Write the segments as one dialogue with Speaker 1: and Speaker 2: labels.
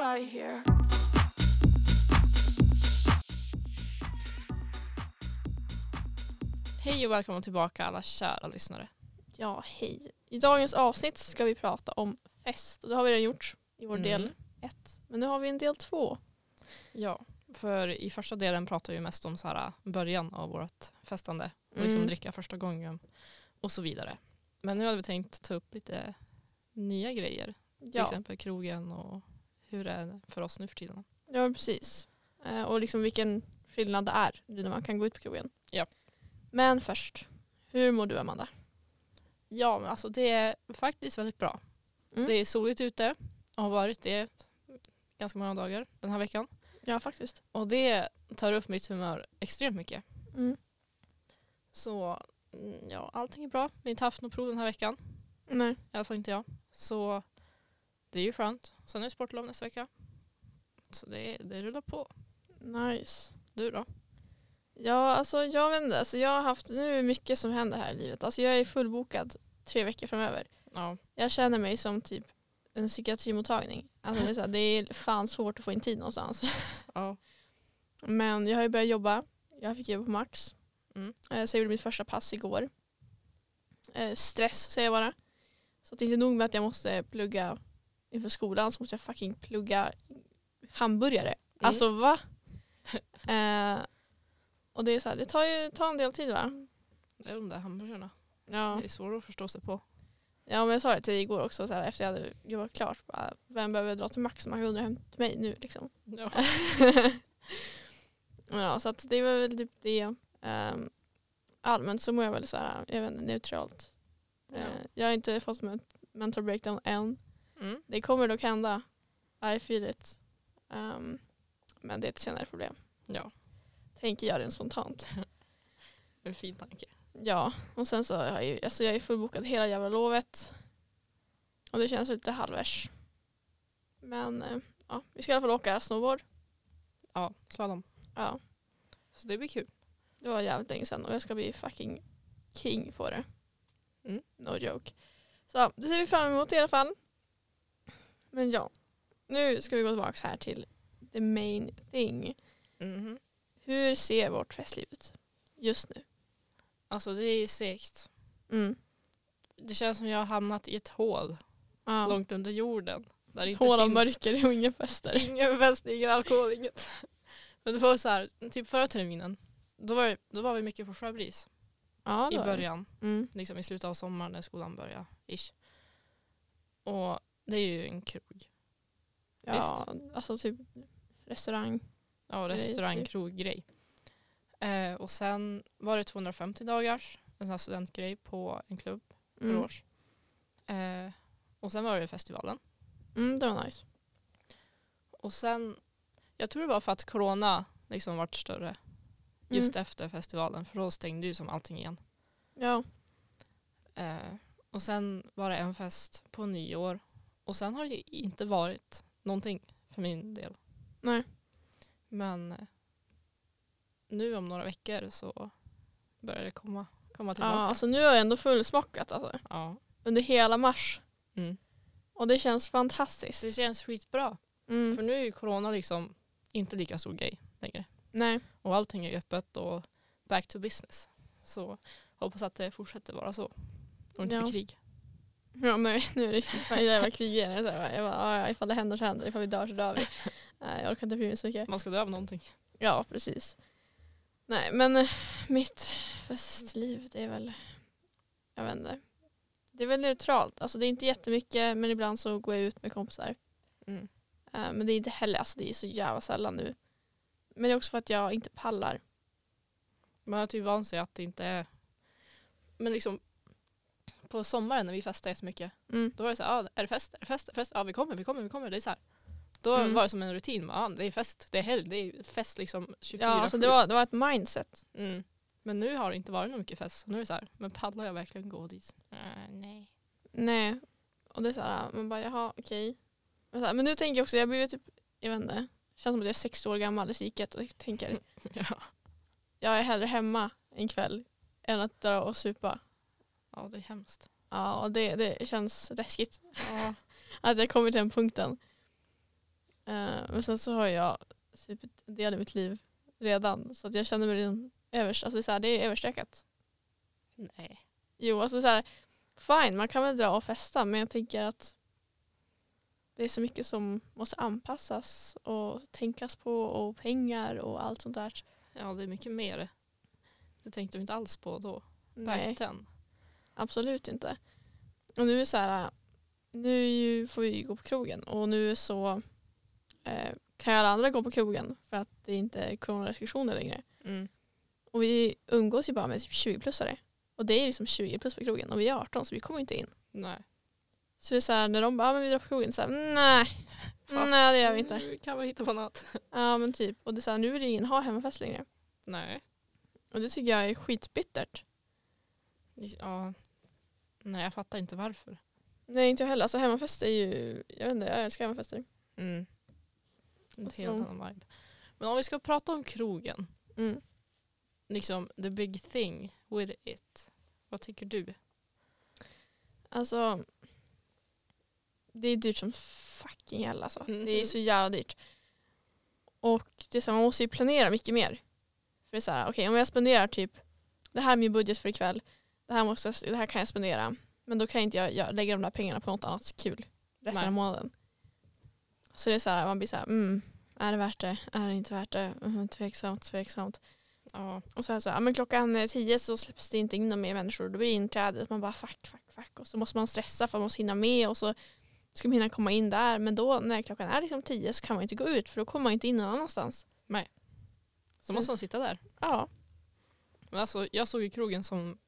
Speaker 1: out of here.
Speaker 2: Hej och välkomna tillbaka alla kära lyssnare. Ja, hej. I dagens avsnitt ska vi prata om fest. Och det har vi redan gjort i vår
Speaker 3: Mm.
Speaker 2: del ett. Men nu har vi en del två.
Speaker 3: Ja, för i första delen pratar vi mest om så här, början av vårt festande. Och liksom
Speaker 2: Mm.
Speaker 3: dricka första gången och så vidare. Men nu hade vi tänkt ta upp lite nya grejer. Till
Speaker 2: Ja,
Speaker 3: exempel krogen och hur det är för oss nu för tiden.
Speaker 2: ja precis. Eh, och liksom vilken skillnad det är nu när man kan gå ut på krogen.
Speaker 3: Ja.
Speaker 2: Men först, hur mår du Amanda?
Speaker 3: Ja, men alltså det är faktiskt väldigt bra.
Speaker 2: Mm.
Speaker 3: Det är soligt ute och har varit det ganska många dagar den här veckan.
Speaker 2: Ja, faktiskt.
Speaker 3: Och det tar upp mitt humör extremt mycket.
Speaker 2: Mm.
Speaker 3: Så mm, ja, allting är bra. Vi har inte haft något prov den här veckan.
Speaker 2: Nej.
Speaker 3: I alla fall inte jag. Så det är ju skönt. Sen är det sportlov nästa vecka. Så det, det rullar på.
Speaker 2: Nice.
Speaker 3: Du då?
Speaker 2: Ja, alltså jag vet inte. Alltså, jag har haft nu är det mycket som händer här i livet. Alltså jag är fullbokad tre veckor framöver.
Speaker 3: Ja.
Speaker 2: Jag känner mig som typ en psykiatrimottagning. Alltså det, är så här, det är fan svårt att få in tid någonstans.
Speaker 3: ja.
Speaker 2: Men jag har ju börjat jobba. Jag fick jobb på Max.
Speaker 3: Mm.
Speaker 2: Eh, Så jag gjorde mitt första pass igår. Eh, Stress säger jag bara. Så att det är inte nog med att jag måste plugga inför skolan så måste jag fucking plugga hamburgare. Alltså va? eh, och det är så här, det tar ju tar en del tid va?
Speaker 3: Det är de där hamburgarna.
Speaker 2: Ja.
Speaker 3: Det är svårt att förstå sig på.
Speaker 2: Ja men jag sa det till dig igår också så här, efter jag hade jobbat klart. Bara, vem behöver jag dra till Max? Man kan undra hem till mig nu liksom.
Speaker 3: Ja.
Speaker 2: Men ja, så att det var väl typ det. Ehm, allmänt så mår jag väl så här, jag vet inte, neutralt. Eh,
Speaker 3: Ja.
Speaker 2: jag har inte fått men- mental breakdown än.
Speaker 3: Mm.
Speaker 2: Det kommer dock hända. I feel it. Ehm, men det är ett senare problem.
Speaker 3: ja.
Speaker 2: Tänker jag rent spontant.
Speaker 3: En fin tanke.
Speaker 2: Ja, och sen så har jag ju, alltså jag är fullbokad hela jävla lovet. Och det känns lite halvers. Men eh, ja, vi ska i alla fall åka snowboard.
Speaker 3: Ja, slalom.
Speaker 2: Ja,
Speaker 3: Så det blir kul.
Speaker 2: Det var jävligt länge sedan och jag ska bli fucking king på det.
Speaker 3: Mm.
Speaker 2: No joke. Så det ser vi fram emot i alla fall. Men ja, nu ska vi gå tillbaka här till the main thing.
Speaker 3: Mhm.
Speaker 2: Hur ser vårt festliv ut just nu?
Speaker 3: Alltså det är segt.
Speaker 2: Mm.
Speaker 3: Det känns som jag har hamnat i ett hål
Speaker 2: Ja.
Speaker 3: långt under jorden. Där det inte
Speaker 2: Hål av
Speaker 3: finns
Speaker 2: mörker och inga fester.
Speaker 3: Ingen fest, ingen alkohol, inget. Men det var så här, typ förra terminen. Då var, det- då var vi mycket på Sjöbris
Speaker 2: Ja,
Speaker 3: i
Speaker 2: då är det.
Speaker 3: början.
Speaker 2: Mm.
Speaker 3: liksom i slutet av sommaren när skolan börjar. Ish. Och det är ju en krog.
Speaker 2: Ja, alltså typ restaurang.
Speaker 3: Ja,
Speaker 2: Det är ju
Speaker 3: restaurangkroggrej. Eh, och sen var det 250 dagars, en sån här studentgrej på en klubb för
Speaker 2: Mm.
Speaker 3: års. Eh, och sen var det festivalen.
Speaker 2: Mm, det var nice.
Speaker 3: Och sen, jag tror det var för att corona liksom vart större
Speaker 2: Mm.
Speaker 3: just efter festivalen. För då stängde ju som allting igen.
Speaker 2: Ja,
Speaker 3: Eh, och sen var det en fest på nyår. Och sen har det ju inte varit någonting för min del.
Speaker 2: nej.
Speaker 3: Men eh, nu om några veckor så börjar det komma, komma
Speaker 2: Ja,
Speaker 3: tillbaka.
Speaker 2: alltså nu har jag ändå fullsmockat alltså.
Speaker 3: Ja.
Speaker 2: Under hela mars.
Speaker 3: Mm.
Speaker 2: Och det känns fantastiskt.
Speaker 3: Det känns skitbra.
Speaker 2: Mm.
Speaker 3: För nu är ju corona liksom inte lika stor grej längre.
Speaker 2: Nej,
Speaker 3: Och allting är ju öppet och back to business. Så hoppas att det fortsätter vara så. Och inte
Speaker 2: Ja.
Speaker 3: blir krig.
Speaker 2: ja, nej nu är det fan jävla krig igen. Jag bara, jag bara, ja, ja, ifall det händer så händer det, ifall vi dör så dör vi. Nej, jag orkar inte bry mig så mycket.
Speaker 3: Man ska dö av någonting.
Speaker 2: Ja, precis. Nej, men eh, mitt festliv det är väl, jag vet inte. Det är väl neutralt. Alltså det är inte jättemycket men ibland så går jag ut med kompisar.
Speaker 3: Mm.
Speaker 2: Eh, Men det är inte heller, alltså det är så jävla sällan nu. Men det är också för att jag inte pallar.
Speaker 3: Man har typ vant sig att det inte är... Men liksom på sommaren när vi festade jättemycket
Speaker 2: Mm.
Speaker 3: Då var det så här, ah, är det fest, är det fest, är det fest? Ja vi kommer, vi kommer, vi kommer. Det är så här. Då
Speaker 2: Mm.
Speaker 3: var det som en rutin, bara, ah, det är fest, det är helg, det är fest liksom 24
Speaker 2: Ja, alltså det var, det var ett mindset.
Speaker 3: mm. Men nu har det inte varit något mycket fest, så nu är det så här, men pallar jag verkligen gå dit? Ah, nej.
Speaker 2: Nej. Och det är så här, man bara jaha okej. Men, så här, men nu tänker jag också, jag blir ju typ, jag vet inte. Känns som att jag är 60 år gammal i psyket och tänker
Speaker 3: Ja.
Speaker 2: jag är hellre hemma en kväll än att dra och supa.
Speaker 3: ja, det är hemskt.
Speaker 2: Ja och det, det känns läskigt
Speaker 3: Ja.
Speaker 2: att jag kommer till den punkten. Eh, Eh, men sen så har jag typ en del i mitt liv redan. Så att jag känner mig redan övers, alltså det, är så här, det är överstökat.
Speaker 3: Nej.
Speaker 2: Jo, alltså så här, fine, man kan väl dra och festa men jag tänker att det är så mycket som måste anpassas och tänkas på och pengar och allt sånt där.
Speaker 3: Ja, det är mycket mer. Det tänkte vi inte alls på då.
Speaker 2: Nej,
Speaker 3: Verkligen.
Speaker 2: absolut inte. Och nu är så här, nu är ju- får vi ju gå på krogen och nu så eh, kan ju alla andra gå på krogen för att det inte är coronarestriktioner längre.
Speaker 3: Mm.
Speaker 2: Och vi umgås ju bara med typ 20-plussare. Och det är liksom 20 plus på krogen och vi är 18 så vi kommer ju inte in.
Speaker 3: Nej.
Speaker 2: Så det är så här, när de bara, ah, men vi drar på krogen, så här, nej,
Speaker 3: Fast
Speaker 2: nej det gör vi inte.
Speaker 3: nu kan vi hitta på något.
Speaker 2: Ja men typ, och det är så här, nu vill ingen ha hemmafest längre.
Speaker 3: Nej.
Speaker 2: Och det tycker jag är skitbittert.
Speaker 3: Ja. Nej, jag fattar inte varför.
Speaker 2: Nej inte jag heller, alltså hemmafest är ju, jag vet inte, jag älskar hemmafester.
Speaker 3: Mm. En
Speaker 2: Och så-
Speaker 3: helt annan vibe. Men om vi ska prata om krogen.
Speaker 2: Mm.
Speaker 3: Liksom the big thing with it. Vad tycker du?
Speaker 2: Alltså, det är dyrt som fucking hell alltså.
Speaker 3: Mhm.
Speaker 2: Det är så jävla dyrt. Och det är så här, man måste ju planera mycket mer. För det är så här, okej om jag spenderar typ, det här är min budget för ikväll, det här, måste, jag- det här kan jag spendera. Men då kan inte jag, jag lägga de där pengarna på något annat kul resten
Speaker 3: Nej.
Speaker 2: av månaden. Så det är så här, man blir så här, mm, är det värt det? Är det inte värt det? Mm, tveksamt, tveksamt.
Speaker 3: Ja.
Speaker 2: Och sen så, ja, men klockan eh, tio så släpps det inte in några mer människor. Då blir det inträdet. Man bara fuck, fuck, fuck. Och så måste man stressa för man måste hinna med. Och så ska man hinna komma in där. Men då när klockan är liksom tio så kan man inte gå ut. För då kommer man inte in någon annanstans.
Speaker 3: Nej.
Speaker 2: Så,
Speaker 3: Då måste man sitta där.
Speaker 2: ja.
Speaker 3: Men alltså, jag såg ju krogen som,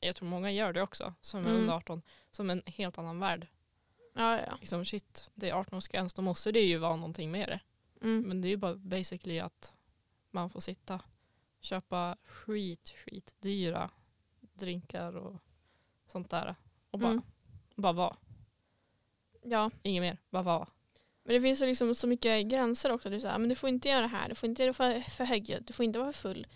Speaker 3: jag tror många gör det också, som är
Speaker 2: Mm.
Speaker 3: under 18, som en helt annan värld.
Speaker 2: Ja, ja.
Speaker 3: Liksom shit, det är 18-årsgräns, då måste det ju vara någonting med det.
Speaker 2: Mm.
Speaker 3: Men det är ju bara basically att man får sitta, köpa skit, skit dyra drinkar och sånt där. Och bara,
Speaker 2: Mm.
Speaker 3: bara vara,
Speaker 2: ja.
Speaker 3: inget mer, bara vara.
Speaker 2: Men det finns ju liksom så mycket gränser också. Du, så här, men du får inte göra det här. Du får inte vara för, för högljudd. Du får inte vara för full.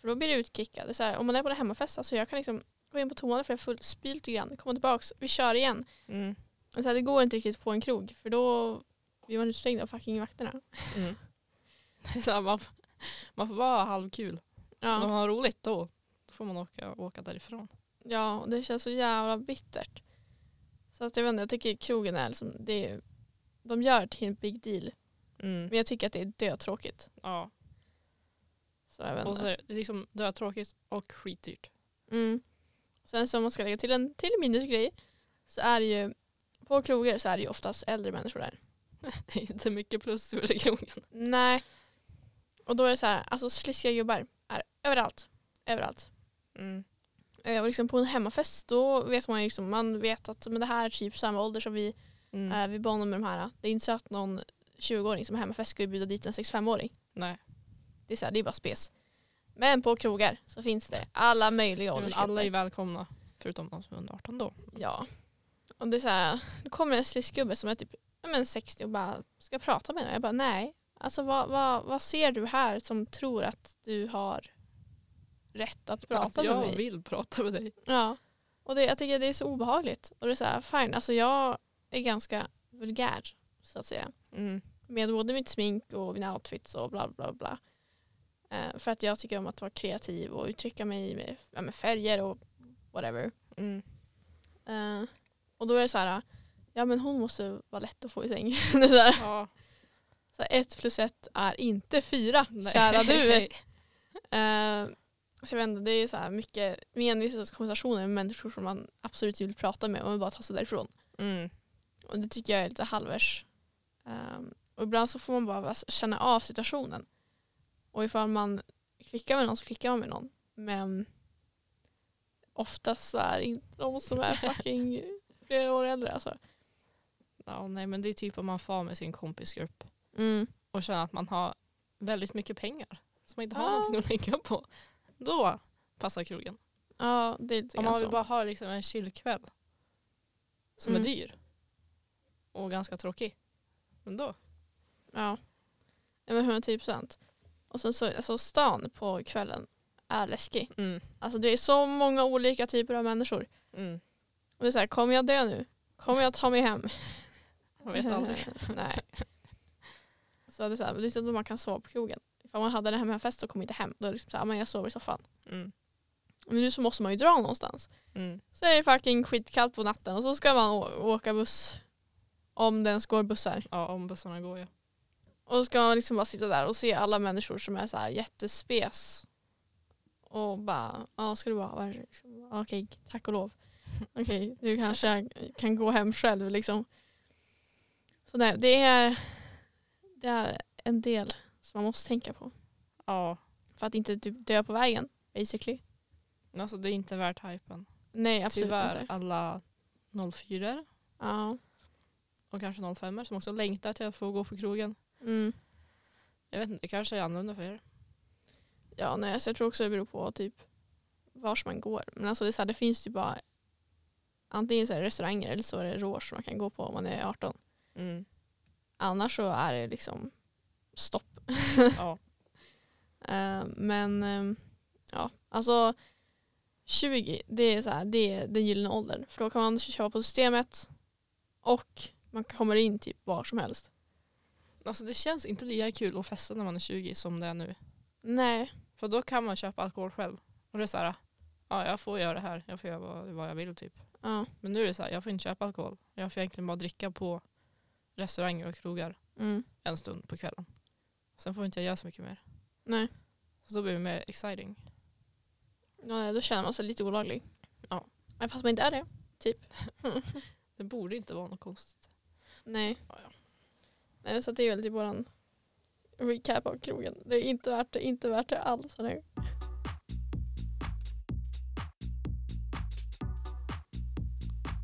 Speaker 2: För då blir du utkickad. Det är så här, om man är på en hemmafest. Alltså jag kan liksom gå in på toan för jag är full. Spy lite grann. Komma tillbaka. Vi kör igen.
Speaker 3: Mm.
Speaker 2: Men Så här, det går inte riktigt på en krog för då blir man utslängd av fucking vakterna.
Speaker 3: Mm. Så här, man, får- man får bara ha halvkul. Om man
Speaker 2: Ja,
Speaker 3: har roligt då, då får man åka, åka därifrån.
Speaker 2: ja och det känns så jävla bittert. Så att jag vet inte, jag tycker krogen är liksom, det är, de gör det till en big deal.
Speaker 3: Mm.
Speaker 2: Men jag tycker att det är dötråkigt.
Speaker 3: Ja.
Speaker 2: Så jag vet
Speaker 3: Och så
Speaker 2: inte.
Speaker 3: är det liksom dötråkigt och skitdyrt.
Speaker 2: Mm. Sen så om man ska lägga till en till minusgrej så är det ju, på krogar så är det ju oftast äldre människor där.
Speaker 3: Det är inte mycket plus i regionen.
Speaker 2: Nej. Och då är det så här, alltså sliskiga gubbar är överallt. Överallt. Eh, Och liksom på en hemmafest då vet man ju liksom, man vet att men det här är typ samma ålder som vi,
Speaker 3: Mm.
Speaker 2: eh, vi barn med de här. Det är inte så att någon 20-åring som är hemmafest skulle bjuda dit en 65-åring.
Speaker 3: Nej,
Speaker 2: Det är, så här, det är bara spes. Men på krogar så finns det alla möjliga
Speaker 3: men
Speaker 2: åldersgrupper.
Speaker 3: alla är välkomna. Förutom de som är under 18 då.
Speaker 2: Ja. Och det är så här, då kommer en sliskgubbe som är typ ja, men 60 och bara ska jag prata med henne. Jag bara nej. Alltså vad, vad, vad ser du här som tror att du har rätt att prata
Speaker 3: Att
Speaker 2: med
Speaker 3: jag
Speaker 2: mig?
Speaker 3: vill prata med dig.
Speaker 2: Ja, och det, jag tycker det är så obehagligt. Och det är så här, fine, alltså jag är ganska vulgär så att säga.
Speaker 3: Mm,
Speaker 2: Med både mitt smink och mina outfits och bla bla bla. Eh, för att jag tycker om att vara kreativ och uttrycka mig med, ja, med färger och whatever.
Speaker 3: mm.
Speaker 2: Eh, och då är det så här, ja men hon måste vara lätt att få i säng. det är så här,
Speaker 3: Ja.
Speaker 2: så här, ett plus ett är inte fyra, kära du. Eh, så jag vet inte, det är så här mycket meningslösa konversationer med människor som man absolut inte vill prata med. Man vill bara ta sig därifrån.
Speaker 3: Mm.
Speaker 2: Och det tycker jag är lite halvers. Ehm, och ibland så får man bara vas- känna av situationen. Och ifall man klickar med någon så klickar man med någon. Men oftast så är det inte de som är fucking flera år äldre. Alltså.
Speaker 3: Ja, nej, men det är typ om man får med sin kompisgrupp och känner att man har väldigt mycket pengar. Så man inte har
Speaker 2: Ja.
Speaker 3: någonting att lägga på. Då passar krogen.
Speaker 2: Ja, det är lite
Speaker 3: Om
Speaker 2: grann
Speaker 3: man vill
Speaker 2: så.
Speaker 3: bara ha liksom en chillkväll som
Speaker 2: Mm.
Speaker 3: är dyr och ganska tråkig. Men då?
Speaker 2: Ja. Ja, men 110 procent. Och sen så, alltså stan på kvällen är läskig. Alltså det är så många olika typer av människor.
Speaker 3: Mm.
Speaker 2: Och det är så här, kommer jag dö nu? Kommer jag ta mig hem?
Speaker 3: Man vet aldrig.
Speaker 2: Nej. Så det är så här, det är så att man kan sova på krogen. Ifall man hade det här med en fest och kom inte hem, då är det liksom så här, men jag sover i soffan.
Speaker 3: Mm.
Speaker 2: Men nu så måste man ju dra någonstans.
Speaker 3: Mm.
Speaker 2: Så är det fucking skitkallt på natten och så ska man å- åka buss. Om det ens går bussar.
Speaker 3: Ja, om bussarna går ja.
Speaker 2: Och så ska man liksom bara sitta där och se alla människor som är så här jättespes. Och bara, ja ska du bara vara liksom, ja, okej, tack och lov. Okej, du kanske jag kan gå hem själv liksom. Så nej, det är, det är en del som man måste tänka på.
Speaker 3: Ja,
Speaker 2: För att inte typ dö på vägen, basically.
Speaker 3: men alltså det är inte värt hypen.
Speaker 2: Nej, absolut
Speaker 3: Tyvärr
Speaker 2: inte.
Speaker 3: alla 04
Speaker 2: Ja.
Speaker 3: och kanske 05 som också längtar till att få gå på krogen.
Speaker 2: Mm.
Speaker 3: Jag vet inte, det kanske är annorlunda för er.
Speaker 2: Ja, nej, så jag tror också det beror på typ vars man går. Men alltså det, är så här, det finns ju bara antingen så är det restauranger eller så är det rås som man kan gå på om man är 18.
Speaker 3: Mm.
Speaker 2: Annars så är det liksom stopp.
Speaker 3: Ja.
Speaker 2: Eh, men ehm, ja, alltså 20 det är, så här, det är den gyllene åldern. För då kan man köpa på systemet och man kommer in typ var som helst.
Speaker 3: Alltså det känns inte lika kul att festa när man är 20 som det är nu.
Speaker 2: Nej,
Speaker 3: För då kan man köpa alkohol själv. Och det är så här, ja jag får göra det här, jag får göra vad, vad jag vill typ.
Speaker 2: ja.
Speaker 3: Men nu är det så här, jag får inte köpa alkohol. Jag får egentligen bara dricka på restauranger och krogar
Speaker 2: Mm,
Speaker 3: en stund på kvällen. Sen får inte jag göra så mycket mer.
Speaker 2: nej.
Speaker 3: Så då blir det mer exciting.
Speaker 2: Ja, nej, då känner man sig lite olaglig.
Speaker 3: Ja.
Speaker 2: Men fast man inte är det. typ.
Speaker 3: Det borde inte vara något konstigt.
Speaker 2: Nej.
Speaker 3: Ja, ja.
Speaker 2: Nej, så att det är väl typ våran recap av krogen. Det är inte värt det, inte värt det alls. Nu.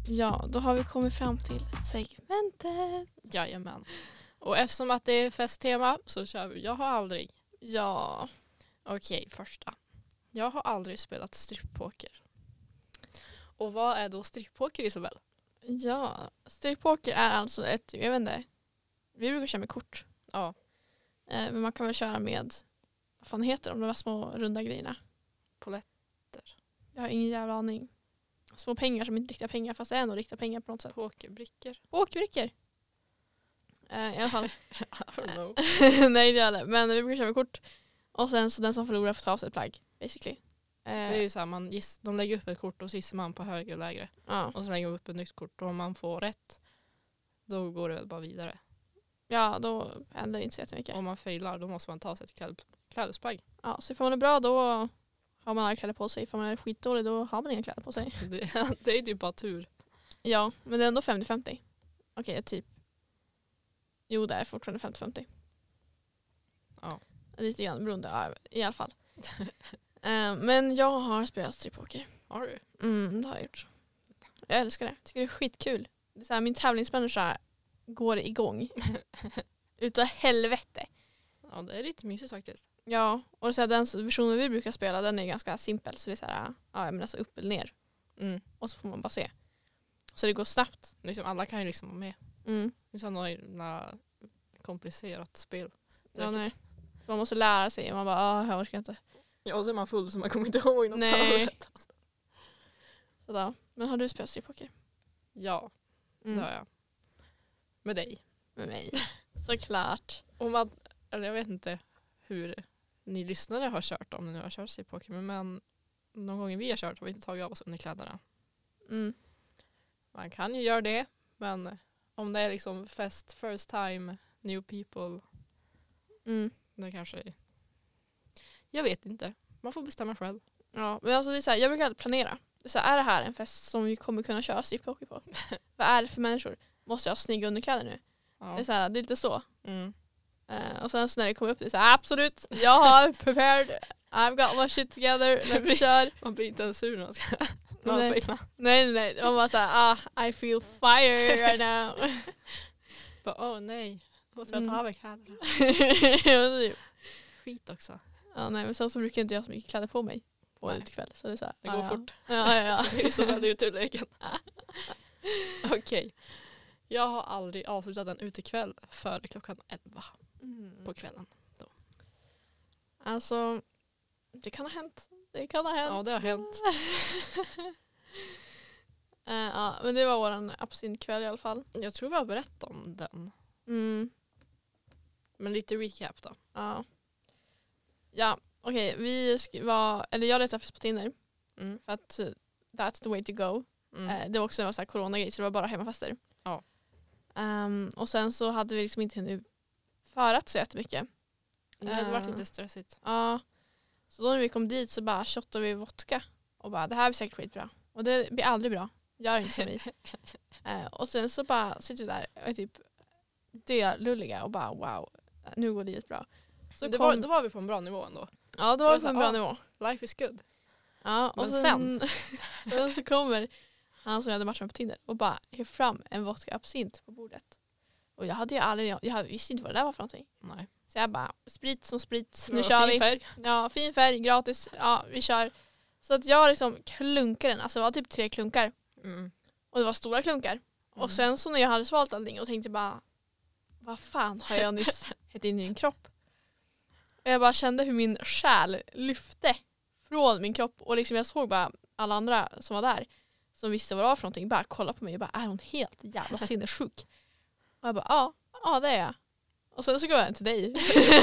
Speaker 2: Ja, då har vi kommit fram till segmentet.
Speaker 3: Jajamän. Och eftersom att det är festtema så kör vi Jag har aldrig.
Speaker 2: Ja,
Speaker 3: Okej, första. Jag har aldrig spelat strippoker. Och vad är då strippoker Isabel?
Speaker 2: ja. Strippoker är alltså ett, jag vet inte, vi brukar köra med kort.
Speaker 3: Ja,
Speaker 2: Eh, Men man kan väl köra med, vad fan heter de, de där små runda grejerna?
Speaker 3: polett.
Speaker 2: Jag har ingen jävla aning. Små pengar som inte är riktiga pengar fast det är nog riktiga pengar på något sätt.
Speaker 3: Pokerbrickor?
Speaker 2: Åkbrickor. Eh, I alla fall.
Speaker 3: I don't know.
Speaker 2: Nej det är det. Men vi brukar köra med kort. Och sen så den som förlorar får ta av sig ett plagg. Basically. Eh,
Speaker 3: Det är ju så här, man giss, de lägger upp ett kort och så gissar man på högre och lägre.
Speaker 2: ja.
Speaker 3: Och så lägger man upp ett nytt kort och om man får rätt då går det väl bara vidare.
Speaker 2: ja, då händer det inte så jättemycket.
Speaker 3: Om man failar då måste man ta sig ett kläd, klädesplagg.
Speaker 2: Ja, så ifall man är bra då har man alla kläder på sig. Ifall man är skitdålig då har man inga kläder på sig.
Speaker 3: Det, det är ju typ bara tur.
Speaker 2: Ja, men det är ändå 50-50. Okej, typ. Jo, det är fortfarande 50-50.
Speaker 3: Ja.
Speaker 2: Lite grann beroende, ja, i alla fall. eh, men jag har spelat strippoker.
Speaker 3: Har du?
Speaker 2: Mm, det har jag gjort. Jag älskar det. Tycker det är skitkul. Det är så här, min tävlingsmänniska går igång. Utav helvete.
Speaker 3: Ja det är lite mysigt faktiskt.
Speaker 2: Ja, och det är så här, den versionen vi brukar spela den är ganska simpel. Så det är så här, ja, men alltså upp eller ner.
Speaker 3: Mm.
Speaker 2: Och så får man bara se. Så det går snabbt.
Speaker 3: Liksom, alla kan ju liksom vara med.
Speaker 2: Mm.
Speaker 3: Det är sådana komplicerat spel.
Speaker 2: Ja,
Speaker 3: Riktigt.
Speaker 2: nej. Så man måste lära sig. Man bara, ah, jag orkar inte.
Speaker 3: Ja, och så är man full så man kommer inte ihåg något.
Speaker 2: Nej.
Speaker 3: av det.
Speaker 2: Så då. Men har du spelat strippoker?
Speaker 3: Ja,
Speaker 2: Mm.
Speaker 3: det har jag. Med dig.
Speaker 2: Med mig. Såklart.
Speaker 3: Om man, eller jag vet inte hur ni lyssnare har kört om ni nu har kört strippoker men- men någon gång vi har kört har vi inte tagit av oss underkläderna.
Speaker 2: Mm.
Speaker 3: Man kan ju göra det men om det är liksom fest, first time, new people,
Speaker 2: Mm.
Speaker 3: då kanske Jag vet inte. Man får bestämma själv.
Speaker 2: Ja, men alltså det är så här, jag brukar alltid planera. Det är, så här, är det här en fest som vi kommer kunna köra strippoker på? Vad är det för människor? Måste jag ha snygga underkläder nu? Det, är
Speaker 3: Ja.
Speaker 2: så här, det är lite så.
Speaker 3: Mm.
Speaker 2: Eh, och sen så när det kommer upp det är så här, absolut, jag har prepared, I've got my shit together, let's kör.
Speaker 3: Man blir inte ens sur när man ska när man
Speaker 2: Nej,
Speaker 3: failar.
Speaker 2: nej, nej. Man bara såhär, ah, I feel fire right now.
Speaker 3: Bara, Åh nej, måste jag
Speaker 2: Mm.
Speaker 3: ta av mig kläderna?
Speaker 2: Men typ.
Speaker 3: Skit också.
Speaker 2: ja, nej, men sen så brukar inte jag ha så mycket kläder på mig på
Speaker 3: Nej.
Speaker 2: en utekväll. Så det är så här,
Speaker 3: Det går
Speaker 2: ah,
Speaker 3: fort.
Speaker 2: Ja, ja, ja.
Speaker 3: Det är som en utelägen. Okej. Jag har aldrig avslutat en utekväll före klockan 11
Speaker 2: Mm.
Speaker 3: på kvällen.
Speaker 2: Alltså, det kan ha hänt. Det kan ha hänt.
Speaker 3: Ja, det har hänt.
Speaker 2: Eh, ja, men det var våran absintkväll i alla fall.
Speaker 3: Mm. Jag tror vi har berättat om den.
Speaker 2: Mm.
Speaker 3: Men lite recap då.
Speaker 2: Ja, ja okej. Vi sk- var, eller jag letade fest på Tinder
Speaker 3: Mm.
Speaker 2: för att eh, that's the way to go.
Speaker 3: Mm.
Speaker 2: Eh, Det var också en massa coronagrej så det var bara hemmafester.
Speaker 3: Ja.
Speaker 2: Ehm, och sen så hade vi liksom inte hunnit förat så jättemycket.
Speaker 3: Det hade varit
Speaker 2: eh.
Speaker 3: lite stressigt.
Speaker 2: Ja. Så då när vi kom dit så bara shottade vi vodka och bara det här blir säkert skitbra. Och det blir aldrig bra. Gör inte som vi. Eh, och sen så bara sitter vi där och är typ dölulliga och bara wow, nu går livet bra. Så
Speaker 3: Men det var,
Speaker 2: kom-
Speaker 3: då var vi på en bra nivå ändå.
Speaker 2: ja, då
Speaker 3: det
Speaker 2: var
Speaker 3: var
Speaker 2: det på en
Speaker 3: så-
Speaker 2: bra
Speaker 3: ja.
Speaker 2: nivå.
Speaker 3: Life is good.
Speaker 2: Ja, och
Speaker 3: Men
Speaker 2: sen, sen så kommer han som jag hade matchat med på Tinder och bara höll fram en vodka absint på bordet. Och jag hade ju aldrig, jag, jag visste inte vad det där var för någonting.
Speaker 3: Nej.
Speaker 2: Så jag bara, sprit som sprit,
Speaker 3: Det
Speaker 2: nu
Speaker 3: var
Speaker 2: kör
Speaker 3: fin
Speaker 2: vi.
Speaker 3: Färg.
Speaker 2: Ja, fin färg, gratis, ja vi kör. Så att jag liksom klunkade den, alltså det var typ tre klunkar.
Speaker 3: Mm.
Speaker 2: Och det var stora klunkar.
Speaker 3: Mm.
Speaker 2: Och sen så när jag hade svalt allting och tänkte bara, vad fan har jag nyss hett in i min kropp? Och jag bara kände hur min själ lyfte från min kropp och liksom jag såg bara alla andra som var där som visste vad det var för någonting bara kolla på mig och bara är hon helt jävla sinnessjuk? Och jag bara ja, ja det är jag. Och sen så går jag hem till dig.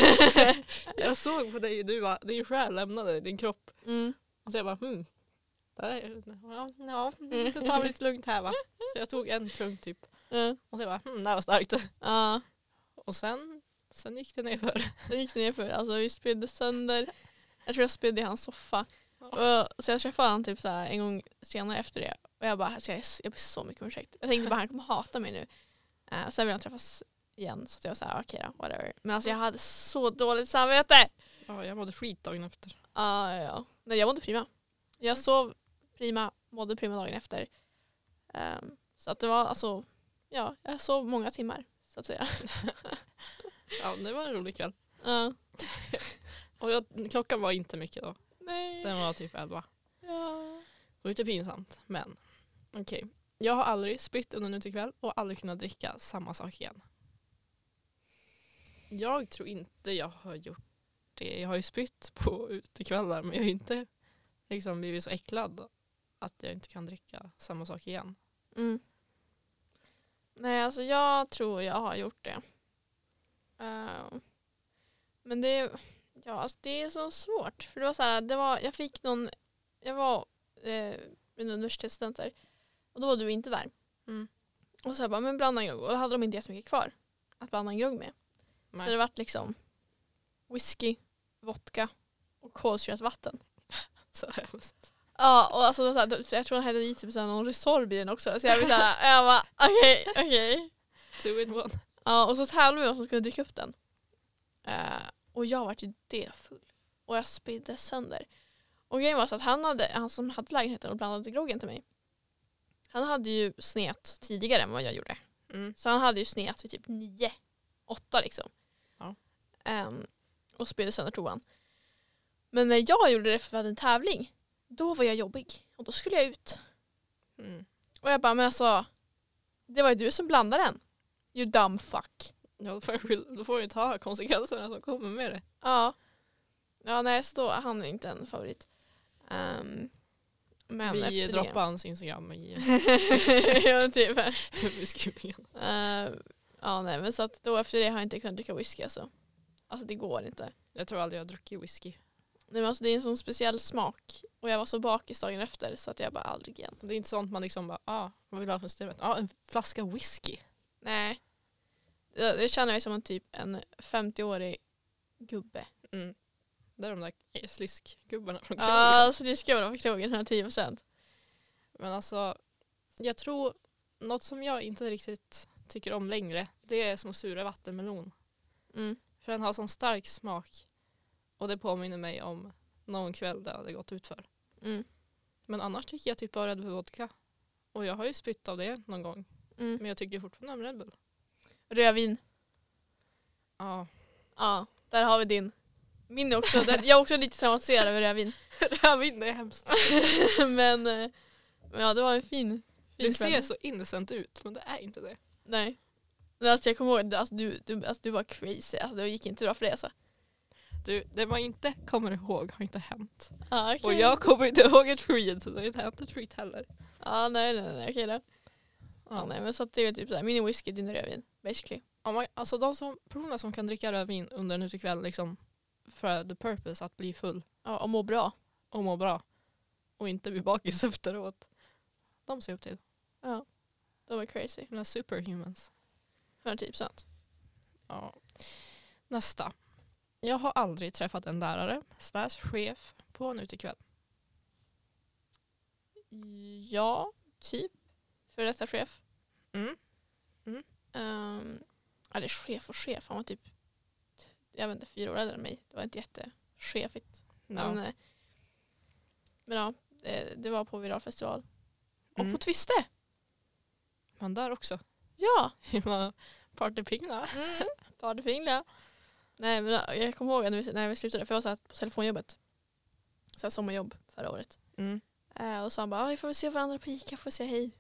Speaker 3: Mm. Jag såg på dig och du bara, din själ lämnade din kropp.
Speaker 2: Mm.
Speaker 3: Och så jag bara hmm. Det här är, ja, ja, då tar vi lite lugnt här va. Så jag tog en klunk typ.
Speaker 2: Mm.
Speaker 3: Och så jag bara hmm, det här var starkt.
Speaker 2: Ja.
Speaker 3: Och sen, sen gick det nerför.
Speaker 2: Sen gick det nerför. Alltså vi spydde sönder. Jag tror jag spydde i hans soffa. Och, så jag träffade honom typ så här en gång senare efter det. Och jag bara, alltså, jag, är s- jag ber så mycket om ursäkt. Jag tänkte bara han kommer hata mig nu. Eh, sen vill han träffas igen. Så att jag var såhär, okej då, whatever. Men alltså jag hade så dåligt samvete.
Speaker 3: Ja, jag mådde skit dagen efter.
Speaker 2: Ja, ja, ja. Nej jag mådde prima. Jag sov prima, mådde prima dagen efter. Ehm, så att det var alltså, ja, jag sov många timmar så att säga.
Speaker 3: Ja, det var en rolig kväll.
Speaker 2: Ja.
Speaker 3: Och jag, klockan var inte mycket då.
Speaker 2: nej.
Speaker 3: Den var typ elva.
Speaker 2: Ja.
Speaker 3: Det var lite pinsamt, men okej. Jag har aldrig spytt under en utekväll och aldrig kunnat dricka samma sak igen. Jag tror inte jag har gjort det. Jag har ju spytt på utekvällar men jag har inte liksom blivit så äcklad att jag inte kan dricka samma sak igen.
Speaker 2: Mm. Nej, alltså jag tror jag har gjort det. Ehm, men det är, ja, alltså det är så svårt. För det var så här, det var, jag fick någon, jag var eh, med universitetsstudenter och då var du inte där.
Speaker 3: Mm.
Speaker 2: Och så jag bara, men blanda en grogg. Och då hade de inte jättemycket kvar att blanda en grogg med.
Speaker 3: Nej.
Speaker 2: Så det vart liksom whisky, vodka och kolsyrat vatten.
Speaker 3: Så hemskt.
Speaker 2: Ja, och alltså, det var så här, så jag tror han hade i typ så här någon Resorb i den också. Så jag blev såhär, jag bara okej, okej.
Speaker 3: Two in one.
Speaker 2: Ja, och så tävlade vi om vem som skulle dricka upp den. Eh, och jag vart ju defull. Och jag spydde sönder. Och grejen var så att han, hade, han som hade lägenheten och blandade groggen till mig. Han hade ju snet tidigare än vad jag gjorde.
Speaker 3: Mm.
Speaker 2: Så han hade ju snet vid typ nio, åtta liksom.
Speaker 3: Ja.
Speaker 2: Ehm, och spydde sönder toan. Men när jag gjorde det för att vi hade en tävling, då var jag jobbig. Och då skulle jag ut.
Speaker 3: Mm.
Speaker 2: Och jag bara, men alltså, det var ju du som blandade den. You dumb fuck.
Speaker 3: Ja, då, får jag, skyll- då får jag ju ta konsekvenserna som kommer med det.
Speaker 2: Ja. Ja, nej, så då, han är inte en favorit. Ehm, men
Speaker 3: Vi
Speaker 2: efter
Speaker 3: droppar hans Instagram i
Speaker 2: det. ja, typ.
Speaker 3: beskrivningen.
Speaker 2: Ehm, ja, nej, men så att då efter det har jag inte kunnat dricka whisky alltså. Alltså det går inte.
Speaker 3: Jag tror aldrig jag har druckit whisky.
Speaker 2: Nej, men alltså, det är en sån speciell smak. Och jag var så bakis dagen efter så att jag bara aldrig igen.
Speaker 3: Det är inte sånt man liksom bara, ah, vad vill du ha för systemet? ah, en flaska whisky.
Speaker 2: Nej. Jag, jag känner mig som en typ en 50-årig gubbe.
Speaker 3: Mm. Det är de där sliskgubbarna från
Speaker 2: Ja,
Speaker 3: krogen.
Speaker 2: alltså det ska vara på krogen, 110%.
Speaker 3: Men alltså, jag tror något som jag inte riktigt tycker om längre, det är som sura vattenmelon.
Speaker 2: Mm.
Speaker 3: För den har sån stark smak. Och det påminner mig om någon kväll där jag hade gått ut för.
Speaker 2: Mm.
Speaker 3: Men annars tycker jag typ bara Red Bull vodka. Och jag har ju spytt av det någon gång.
Speaker 2: Mm.
Speaker 3: Men jag tycker fortfarande om Red Bull.
Speaker 2: Rödvin.
Speaker 3: Ja.
Speaker 2: Ja, där har vi din. Min är också, den, jag är också lite traumatiserad över rödvin.
Speaker 3: Rödvin, det är hemskt.
Speaker 2: Men, eh, men ja, det var en fin, fin
Speaker 3: Det ser
Speaker 2: kväll.
Speaker 3: så innocent ut, men det är inte det.
Speaker 2: Nej. Men alltså jag kommer ihåg, alltså, du, du, alltså, du var crazy. Alltså, det gick inte bra för dig alltså.
Speaker 3: Du, det man inte kommer ihåg har inte hänt.
Speaker 2: Ja, Ah, okej.
Speaker 3: Och jag kommer inte ihåg ett skit, så det har inte hänt ett skit heller.
Speaker 2: Ja, nej, nej, nej, okej då. Ja, nej, men så att det är typ såhär, min är whisky, din är rödvin. Basically.
Speaker 3: om man, alltså de som, personer som kan dricka rödvin under en utekväll liksom, för the purpose att bli full
Speaker 2: Ja, och må bra.
Speaker 3: och må bra och inte bli bakis efteråt. De ser jag upp till.
Speaker 2: Ja. De är crazy. typ,
Speaker 3: Mina superhumans.
Speaker 2: 110%.
Speaker 3: Ja. Nästa. Jag har aldrig träffat en lärare slash chef på en utekväll.
Speaker 2: Ja, typ. För detta chef.
Speaker 3: Mm.
Speaker 2: Um, eller chef och chef, han var typ jag vet inte, fyra år äldre än mig. Det var inte jättechefigt. Men, eh, men ja, det, det var på Viralfestival.
Speaker 3: Mm.
Speaker 2: Och på Twiste!
Speaker 3: Man där också.
Speaker 2: Ja!
Speaker 3: Man partypigna.
Speaker 2: Mm. Badfingla. Nej men ja, jag kommer ihåg när vi, när vi slutade, för jag var så här på telefonjobbet. Så här sommarjobb förra året.
Speaker 3: Mm.
Speaker 2: Eh, och så han bara, "Ja, vi får väl se varandra på Ica, får säga hej.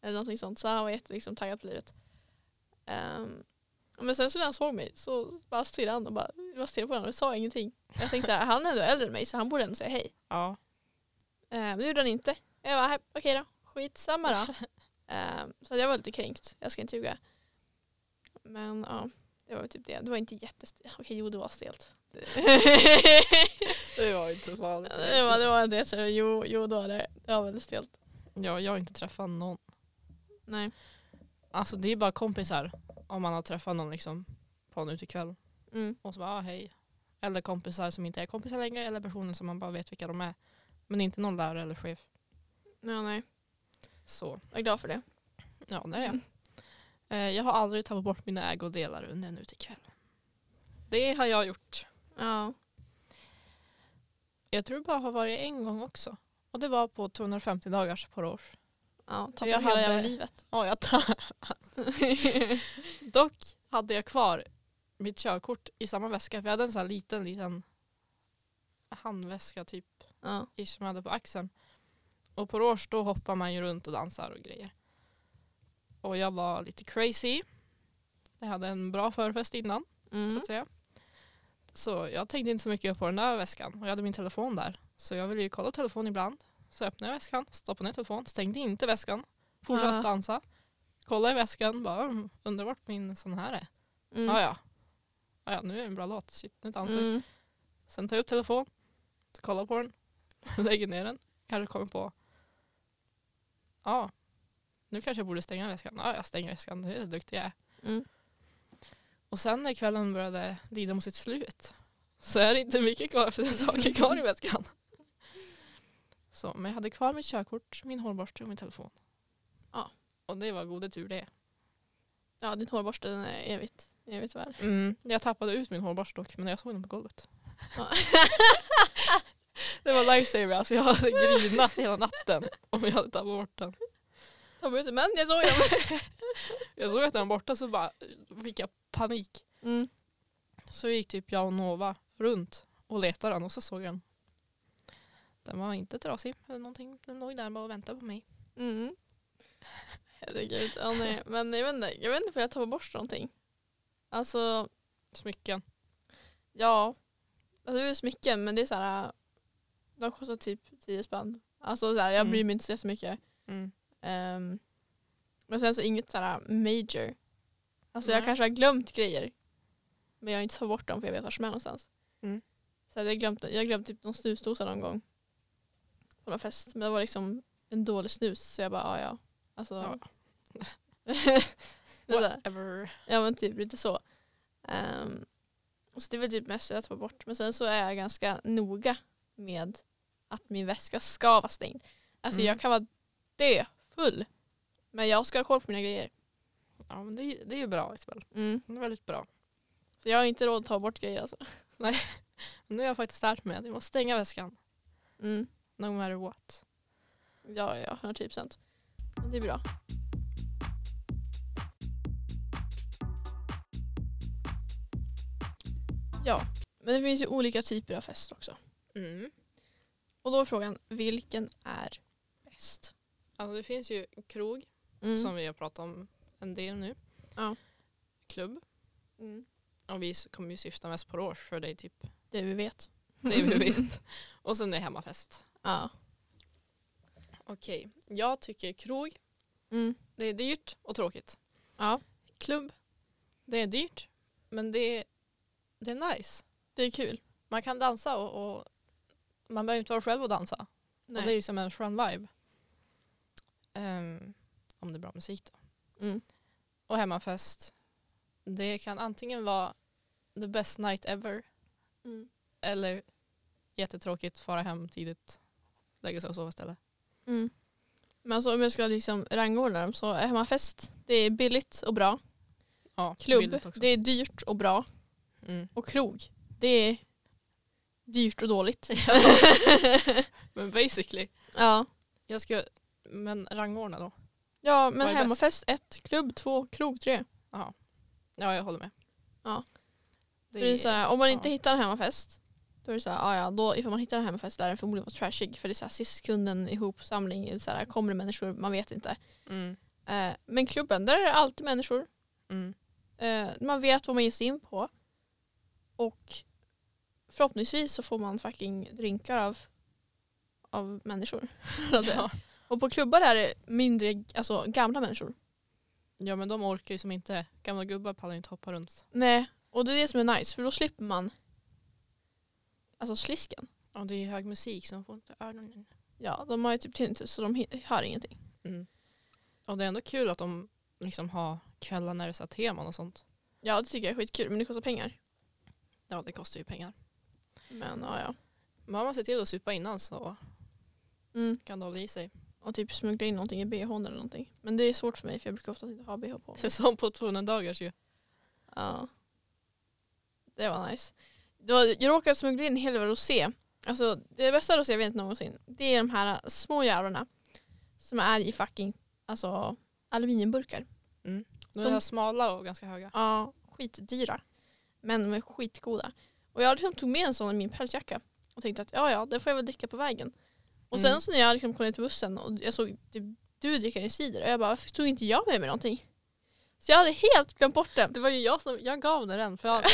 Speaker 2: Eller någonting sånt. Så han var jätte, liksom, taggad på livet. Ehm, men sen så när han såg mig så bara stirrade han och bara, vi bara stirrade på varandra och sa ingenting. Jag tänkte så här, han är ändå äldre än mig så han borde ändå säga hej.
Speaker 3: Ja.
Speaker 2: Eh, men det gjorde han inte. Jag bara, "Hej, okej då, skitsamma då. Eh, så jag var lite kränkt, jag ska inte ljuga. Men ja, det var väl typ det. Det var inte jättestelt. Okej, jo det var stelt.
Speaker 3: Det var inte så farligt.
Speaker 2: det var, det var det, så jo, jo det var det. Det var väldigt stelt.
Speaker 3: Ja, jag har inte träffat någon.
Speaker 2: Nej.
Speaker 3: Alltså det är bara kompisar om man har träffat någon liksom på en utekväll.
Speaker 2: Mm.
Speaker 3: Och så bara ah, hej. Eller kompisar som inte är kompisar längre eller personer som man bara vet vilka de är. Men inte någon lärare eller chef.
Speaker 2: Ja, nej.
Speaker 3: Så
Speaker 2: Jag är glad för det.
Speaker 3: ja, det är jag. Eh, jag har aldrig tappat bort mina ägodelar under en utekväll. Det har jag gjort.
Speaker 2: Ja.
Speaker 3: Jag tror det bara har varit en gång också. Och det var på 250 dagars porrås.
Speaker 2: ja
Speaker 3: Jag
Speaker 2: Tappade hela
Speaker 3: hade-
Speaker 2: jävla livet.
Speaker 3: Ja, jag tar. Dock hade jag kvar mitt körkort i samma väska. För jag hade en sån här liten, liten handväska typ
Speaker 2: ja.
Speaker 3: ish som jag hade på axeln. Och på Rås då hoppar man ju runt och dansar och grejer. Och jag var lite crazy. Jag hade en bra förfest innan så
Speaker 2: Mm.
Speaker 3: att säga. Så jag tänkte inte så mycket på den där väskan. Och jag hade min telefon där. Så jag ville ju kolla på telefonen ibland. Så öppnade jag väskan, stoppade ner telefonen, stängde inte väskan. Fortsatte
Speaker 2: Ja.
Speaker 3: dansa. Kollade i väskan, bara "Mm, undrar vart min sån här är.
Speaker 2: Mm.
Speaker 3: Ja, ja. Ja, ja, nu är det en bra låt. Shit, nu dansar vi.
Speaker 2: Mm.
Speaker 3: Sen tar jag upp telefonen, kollar på den, lägger ner den. Kanske kommer på, ja, nu kanske jag borde stänga väskan. Ja, jag stänger väskan, det är duktig jag är.
Speaker 2: Mm.
Speaker 3: Och sen när kvällen började lida mot sitt slut så är det inte mycket kvar för det är saker kvar i väskan. Så, men jag hade kvar mitt körkort, min hårborste och min telefon.
Speaker 2: Ja.
Speaker 3: Och det var gode tur det.
Speaker 2: Ja, din hårborste den är evigt, evigt värd.
Speaker 3: Jag tappade ut min hårborste dock, men jag såg den på golvet.
Speaker 2: Ja.
Speaker 3: Det var lifesaver, alltså jag hade grinat hela natten om jag hade tappat bort den.
Speaker 2: Ta ut den, men jag såg den.
Speaker 3: Jag såg att den var borta så bara fick jag panik.
Speaker 2: Mm.
Speaker 3: Så gick typ jag och Nova runt och letade den och så såg jag den. Den var inte trasig eller någonting. Den låg där bara och väntade på mig.
Speaker 2: Mm. Herregud, ja, nej. men jag vet inte, jag vet inte för jag tappar bort någonting. Alltså,
Speaker 3: Smycken.
Speaker 2: ja. Alltså, det är ju smycken men det är så här, äh, de kostar typ 10 spänn. Alltså så här, jag
Speaker 3: Mm.
Speaker 2: bryr mig inte så jättemycket. Um, men sen så inget så här major. Alltså jag
Speaker 3: Nej.
Speaker 2: kanske har glömt grejer. Men jag har inte tagit bort dem för jag vet var som är någonstans.
Speaker 3: Mm.
Speaker 2: Så jag glömt, jag glömde typ någon snusdosa någon gång. På någon fest. Men det var liksom en dålig snus så jag bara ja ja. Alltså.
Speaker 3: Ja.
Speaker 2: det är så här.
Speaker 3: Whatever.
Speaker 2: ja men typ lite så. Ehm, så det är väl typ mest jag tar bort. Men sen så är jag ganska noga med att min väska ska vara stängd. Alltså
Speaker 3: Mm.
Speaker 2: jag kan vara dö full. Men jag ska ha koll på mina grejer.
Speaker 3: Ja men det, är- det är ju bra Isabel.
Speaker 2: Mm.
Speaker 3: Det är väldigt bra.
Speaker 2: Så jag har inte råd att ta bort grejer alltså.
Speaker 3: Nu har jag faktiskt lärt mig att jag måste stänga väskan.
Speaker 2: Mm.
Speaker 3: No matter what.
Speaker 2: Ja, ja, 110 procent. Det är bra. Ja, men det finns ju olika typer av fest också.
Speaker 3: Mm.
Speaker 2: Och då är frågan, vilken är bäst?
Speaker 3: Alltså det finns ju krog
Speaker 2: Mm.
Speaker 3: som vi har pratat om en del nu.
Speaker 2: Ja.
Speaker 3: Klubb.
Speaker 2: Mm.
Speaker 3: Och vi kommer ju syfta mest på Rås för det är typ
Speaker 2: Det vi vet.
Speaker 3: det vi vet. Och sen det är hemmafest.
Speaker 2: Ja.
Speaker 3: Okej, jag tycker krog.
Speaker 2: Mm.
Speaker 3: Det är dyrt och tråkigt.
Speaker 2: Ja.
Speaker 3: Klubb. Det är dyrt, men det är, det är nice.
Speaker 2: Det är kul.
Speaker 3: Man kan dansa och, och man behöver inte vara själv och dansa. Och det är ju som en skön vibe. Ehm, om det är bra musik då.
Speaker 2: Mm.
Speaker 3: Och hemmafest. Det kan antingen vara the best night ever
Speaker 2: Mm.
Speaker 3: eller jättetråkigt, fara hem tidigt, lägga sig och sova istället.
Speaker 2: Mm. Men alltså, om jag ska liksom rangordna dem så är hemmafest, det är billigt och bra.
Speaker 3: Ja,
Speaker 2: Klubb,
Speaker 3: billigt också.
Speaker 2: det är dyrt och bra.
Speaker 3: Mm.
Speaker 2: Och krog, det är dyrt och dåligt.
Speaker 3: Men basically.
Speaker 2: ja.
Speaker 3: Jag ska, men rangordna då.
Speaker 2: ja,
Speaker 3: Vad
Speaker 2: men
Speaker 3: är
Speaker 2: hemmafest 1, klubb 2, krog 3.
Speaker 3: Ja, jag håller med.
Speaker 2: Ja.
Speaker 3: Det
Speaker 2: Det är så här, om man
Speaker 3: ja.
Speaker 2: inte hittar en hemmafest, då är det så här, ah, ja, då ifall man hittar en hemmafest där den förmodligen var trashig. För det är så här, sista sekunden ihopsamling, eller så här, kommer det människor, man vet inte.
Speaker 3: Mm.
Speaker 2: Eh, men klubben, där är det alltid människor.
Speaker 3: Mm.
Speaker 2: Eh, man vet vad man ger sig in på. Och förhoppningsvis så får man fucking drinkar av, av människor. Alltså,
Speaker 3: Ja.
Speaker 2: Och på klubbar är det mindre, alltså gamla människor.
Speaker 3: ja, men de orkar ju som inte. Gamla gubbar pallar ju inte hoppa runt.
Speaker 2: Nej, och det är det som är nice för då slipper man alltså slisken.
Speaker 3: Ja, det är ju hög musik så de får inte Mm. öronen.
Speaker 2: Ja, de har ju typ tinnitus så de hi- hör ingenting.
Speaker 3: Mm. Och det är ändå kul att de liksom har kvällar när det är så här teman och sånt.
Speaker 2: Ja, det tycker jag är skitkul men det kostar pengar.
Speaker 3: Ja, det kostar ju pengar.
Speaker 2: Men ja, ja.
Speaker 3: Men om man ser till att supa innan så
Speaker 2: Mm.
Speaker 3: kan det hålla i sig.
Speaker 2: Och typ smuggla in någonting i bhn eller någonting. Men det är svårt för mig för jag brukar oftast inte ha bh på.
Speaker 3: Det är som på 200 dagars ju.
Speaker 2: Ja. Det var nice. Det var, jag råkade smuggla in en hel del rosé. Alltså det bästa rosé jag vet någonsin. Det är de här små jävlarna. Som är i fucking alltså, aluminiumburkar.
Speaker 3: De
Speaker 2: De-
Speaker 3: är smala och ganska höga.
Speaker 2: Ja, skitdyra. Men de är skitgoda. Och jag liksom tog med en sån i min pälsjacka. Och tänkte att ja ja, det får jag väl dricka på vägen. Och sen
Speaker 3: Mm.
Speaker 2: så när jag liksom kom ner till bussen och jag såg typ, du dricker en cider. Och jag bara varför tog inte jag med mig någonting? Så jag hade helt glömt bort den.
Speaker 3: Det var ju jag som jag gav dig den. För jag,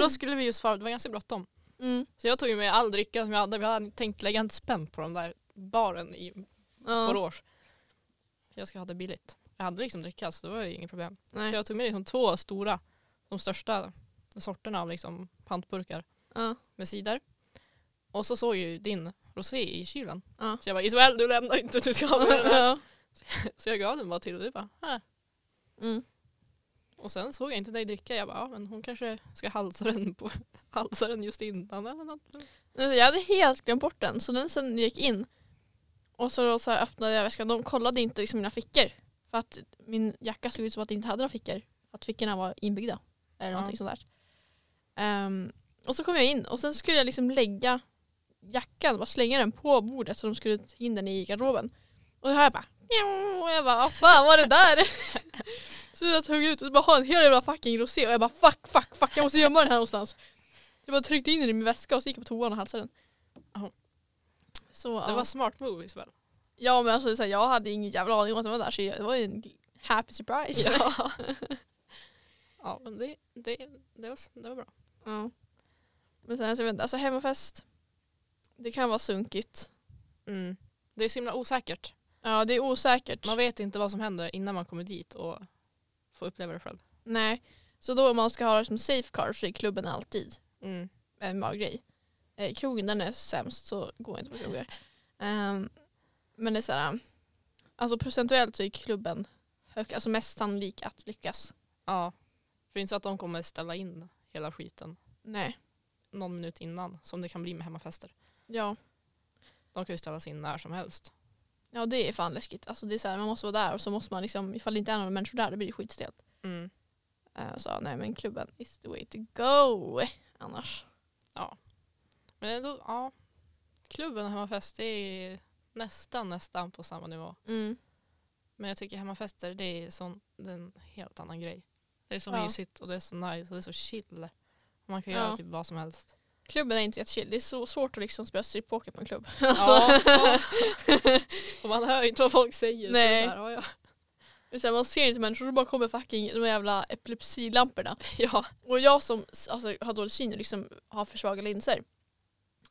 Speaker 3: då skulle vi just fara, det var ganska bråttom.
Speaker 2: Mm.
Speaker 3: Så jag tog ju med all dricka som jag hade. Vi hade tänkt lägga en spänn på den där baren i
Speaker 2: Ja.
Speaker 3: Borås. Jag ska ha det billigt. Jag hade liksom dricka så det var ju inget problem.
Speaker 2: Nej.
Speaker 3: Så jag tog med liksom två stora, de största sorterna av liksom pantburkar
Speaker 2: Ja.
Speaker 3: med cider. Och så såg jag ju din rosé i kylen.
Speaker 2: Ja.
Speaker 3: Så jag bara Isabel du lämnar inte, du ska ha med den här.
Speaker 2: Ja.
Speaker 3: Så jag gav den bara till och du bara här.
Speaker 2: Mm.
Speaker 3: Och sen såg jag inte dig dricka. Jag bara ja, men hon kanske ska halsa den, på, halsa den just innan eller något.
Speaker 2: Men Alltså, Jag hade helt glömt bort den så den sen gick in. Och så, då så här öppnade jag väskan. De kollade inte liksom mina fickor. För att min jacka såg ut som att det inte hade några fickor. För att fickorna var inbyggda. Eller
Speaker 3: Ja.
Speaker 2: någonting sånt där. Ehm, och så kom jag in och sen skulle jag liksom lägga jackan, bara slänga den på bordet så de skulle ta in den i garderoben. Och då hör jag bara "Mjau", och jag bara vad fan var det där? så jag tog ut och bara har en hel jävla fucking rosé och jag bara fuck fuck fuck jag måste gömma den här någonstans. Jag bara tryckte in den i min väska och så gick jag på toan och halsade den.
Speaker 3: Ja.
Speaker 2: Så, ja.
Speaker 3: Det var smart move Isabel.
Speaker 2: ja men alltså så här, jag hade ingen jävla aning om att den var där så jag, det var ju en happy surprise.
Speaker 3: Ja. ja, men det, det, det, var, det var bra.
Speaker 2: Ja. Men sen så vet jag inte, alltså hemmafest. Det kan vara sunkigt. Mm.
Speaker 3: Det är så himla osäkert.
Speaker 2: Ja det är osäkert.
Speaker 3: Man vet inte vad som händer innan man kommer dit och får uppleva det själv.
Speaker 2: Nej. Så då om man ska ha det som safe car så är klubben alltid Mm. en bra grej. Eh, krogen den är sämst så gå inte på krogar. Ehm, men det är såhär, alltså procentuellt så är klubben hög, alltså mest sannolik att lyckas.
Speaker 3: Ja. För det är inte så att de kommer ställa in hela skiten
Speaker 2: Nej.
Speaker 3: någon minut innan som det kan bli med hemmafester.
Speaker 2: Ja.
Speaker 3: De kan ju ställas in när som helst.
Speaker 2: ja, det är fan läskigt. Alltså det är såhär, man måste vara där och så måste man liksom, ifall det inte är några människor där då blir det skitstelt. Eh, så nej men klubben is the way to go annars.
Speaker 3: Men ändå, ja. Klubben och hemmafest det är nästan, nästan på samma nivå.
Speaker 2: Mm.
Speaker 3: Men jag tycker hemmafester det är, sån, det är en helt annan grej. Det är så
Speaker 2: Ja.
Speaker 3: mysigt och det är så nice och det är så chill. Man kan
Speaker 2: Ja.
Speaker 3: göra typ vad som helst.
Speaker 2: Klubben är inte jättechill, det är så svårt att liksom spela strippoker på en klubb.
Speaker 3: Ja,
Speaker 2: Alltså.
Speaker 3: ja. och man hör inte vad folk säger. så det är
Speaker 2: Nej.
Speaker 3: Så här, ja,
Speaker 2: Det är så här, man ser inte människor, då bara kommer fucking de här jävla epilepsilamporna.
Speaker 3: ja.
Speaker 2: Och jag som alltså, har dålig syn och liksom har för svaga linser.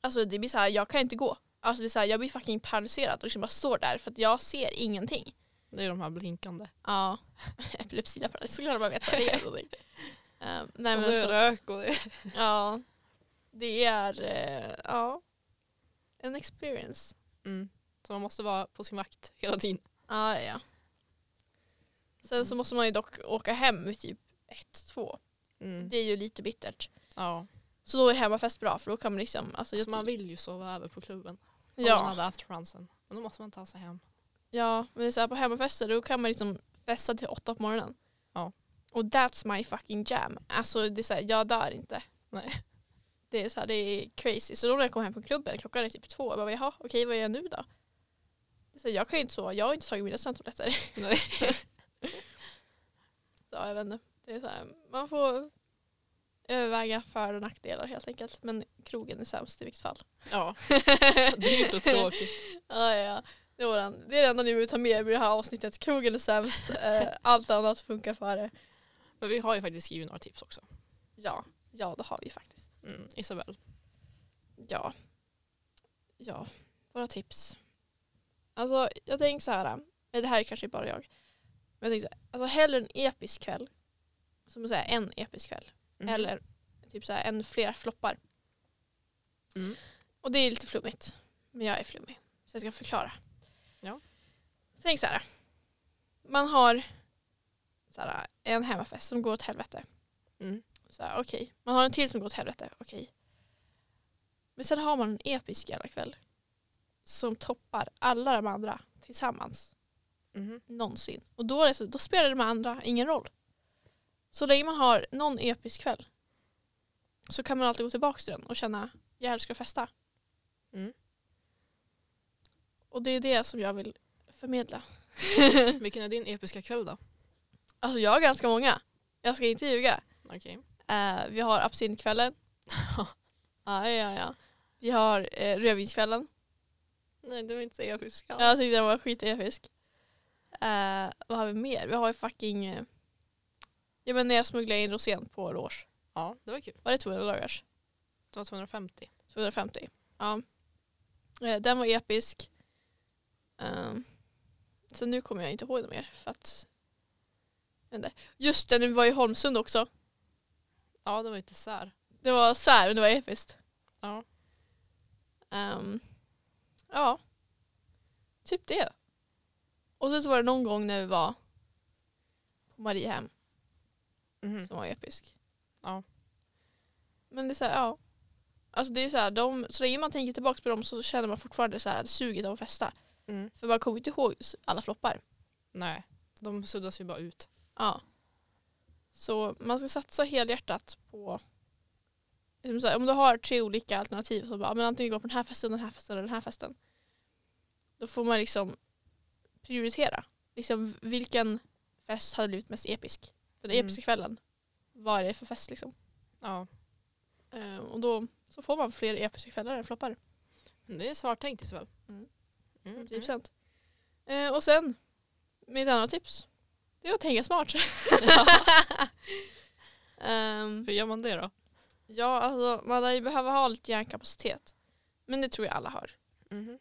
Speaker 2: Alltså det blir så här, jag kan inte gå. Alltså det är så här, jag blir fucking paralyserad och liksom bara står där för att jag ser ingenting.
Speaker 3: Det är de här blinkande.
Speaker 2: Ja, epilepsi där på det. såklart man vet vad det är. Eh, nej, men
Speaker 1: och så är
Speaker 2: så
Speaker 1: det
Speaker 2: att-
Speaker 1: rök och det.
Speaker 2: Ja. Det är eh, ja, en experience.
Speaker 3: Mm. Så man måste vara på sin vakt hela tiden.
Speaker 2: Ja, ja, ja. Sen så måste man ju dock åka hem vid typ ett, två.
Speaker 3: Mm.
Speaker 2: Det är ju lite bittert.
Speaker 3: Ja.
Speaker 2: Så då är hemmafest bra för då kan man liksom... Alltså,
Speaker 3: Så
Speaker 2: jag,
Speaker 3: man vill ju sova över på klubben. Om man
Speaker 2: ja,
Speaker 3: hade haft chansen. Men då måste man ta sig hem.
Speaker 2: ja, men så här, på hemmafester då kan man liksom festa till åtta på morgonen.
Speaker 3: Ja.
Speaker 2: Och that's my fucking jam. Alltså det är så här, jag dör inte.
Speaker 3: Nej.
Speaker 2: Det är så här, det är crazy. Så då när jag kom hem från klubben, klockan är typ två, jag bara jaha, okej vad gör jag nu då? Så jag kan ju inte sova, jag har inte tagit mina sömntabletter.
Speaker 3: Nej.
Speaker 2: Så jag vet inte. Det är så här, man får överväga för och nackdelar helt enkelt. Men krogen är sämst i vilket fall.
Speaker 3: Ja. Dyrt och tråkigt.
Speaker 2: Ja, ja, ja. Det, är våran, det är det enda ni behöver ta med er i det här avsnittet. Krogen är sämst, eh, allt annat funkar före.
Speaker 3: Men vi har ju faktiskt skrivit några tips också.
Speaker 2: Ja, ja det har vi faktiskt.
Speaker 3: Mm. Isabel.
Speaker 2: Ja. Ja, våra tips. Alltså jag tänker så här, eh, det här är kanske bara jag. Men jag tänker så här, alltså hellre en episk kväll, som att säga en episk kväll,
Speaker 3: Mm.
Speaker 2: eller typ så här, en flera floppar.
Speaker 3: Mm.
Speaker 2: Och det är lite flummigt, men jag är flummig. Så jag ska förklara.
Speaker 3: Ja.
Speaker 2: Tänk så här, man har så här, en hemmafest som går åt helvete.
Speaker 3: Mm.
Speaker 2: Så här, okej. Man har en till som går åt helvete. Okej. Men sen har man en episk jävla kväll. Som toppar alla de andra tillsammans.
Speaker 3: Mhm.
Speaker 2: Någonsin. Och då, är det så, då spelar de andra ingen roll. Så länge man har någon episk kväll så kan man alltid gå tillbaka till den och känna jag älskar att festa.
Speaker 3: Mm.
Speaker 2: Och det är det som jag vill förmedla.
Speaker 3: Mm. Vilken är din episka kväll då?
Speaker 2: Alltså jag har ganska många. Jag ska inte ljuga.
Speaker 3: Okej.
Speaker 2: Eh, vi har absintkvällen. ja, ja, ja. Vi har eh, rödvinskvällen.
Speaker 1: Nej, det var inte episk alls.
Speaker 2: Jag tyckte den var skitepisk. Eh, vad har vi mer? Vi har ju fucking... Eh, ja men när jag smugglade in rosén på Rouge.
Speaker 3: Ja, det var kul.
Speaker 2: Var det 200 dagars?
Speaker 3: Det var 250.
Speaker 2: 250. Ja. Eh, den var episk. Um, så nu kommer jag inte ihåg det mer. För att, jag vet inte. Just det, när vi var i Holmsund också.
Speaker 3: Ja, det var ju dessert.
Speaker 2: Det var så här, men det var episkt.
Speaker 3: Ja.
Speaker 2: Ehm, ja. Typ det. Och sen så var det någon gång när vi var på Mariehem
Speaker 3: Mhm.
Speaker 2: som var episk.
Speaker 3: Ja.
Speaker 2: Men det är så här, ja. Alltså det är så här, de, så länge man tänker tillbaka på dem så känner man fortfarande så här suget av att festa.
Speaker 3: Mm.
Speaker 2: För man kommer inte ihåg s- alla floppar.
Speaker 3: Nej, de suddas ju bara ut.
Speaker 2: Ja. Så man ska satsa helhjärtat på liksom så här, om du har tre olika alternativ så bara, men antingen gå på den här festen, den här festen eller den här festen. Då får man liksom prioritera. Liksom vilken fest hade blivit mest episk? Den
Speaker 3: Mm.
Speaker 2: episka kvällen. Vad är det för fest liksom?
Speaker 3: Ja.
Speaker 2: Eh, och då så får man fler episka kvällar än
Speaker 3: Mm,
Speaker 2: floppar.
Speaker 3: Det är smart tänkt Isabel.
Speaker 2: Mm.
Speaker 3: Mm, mm.
Speaker 2: 10%. Eh, och sen, mitt andra tips. Det är att tänka smart. Ehm,
Speaker 3: Hur gör man det då?
Speaker 2: Ja, alltså man lär ju behöva ha lite hjärnkapacitet. Men det tror jag alla har. I
Speaker 3: Mm-hmm.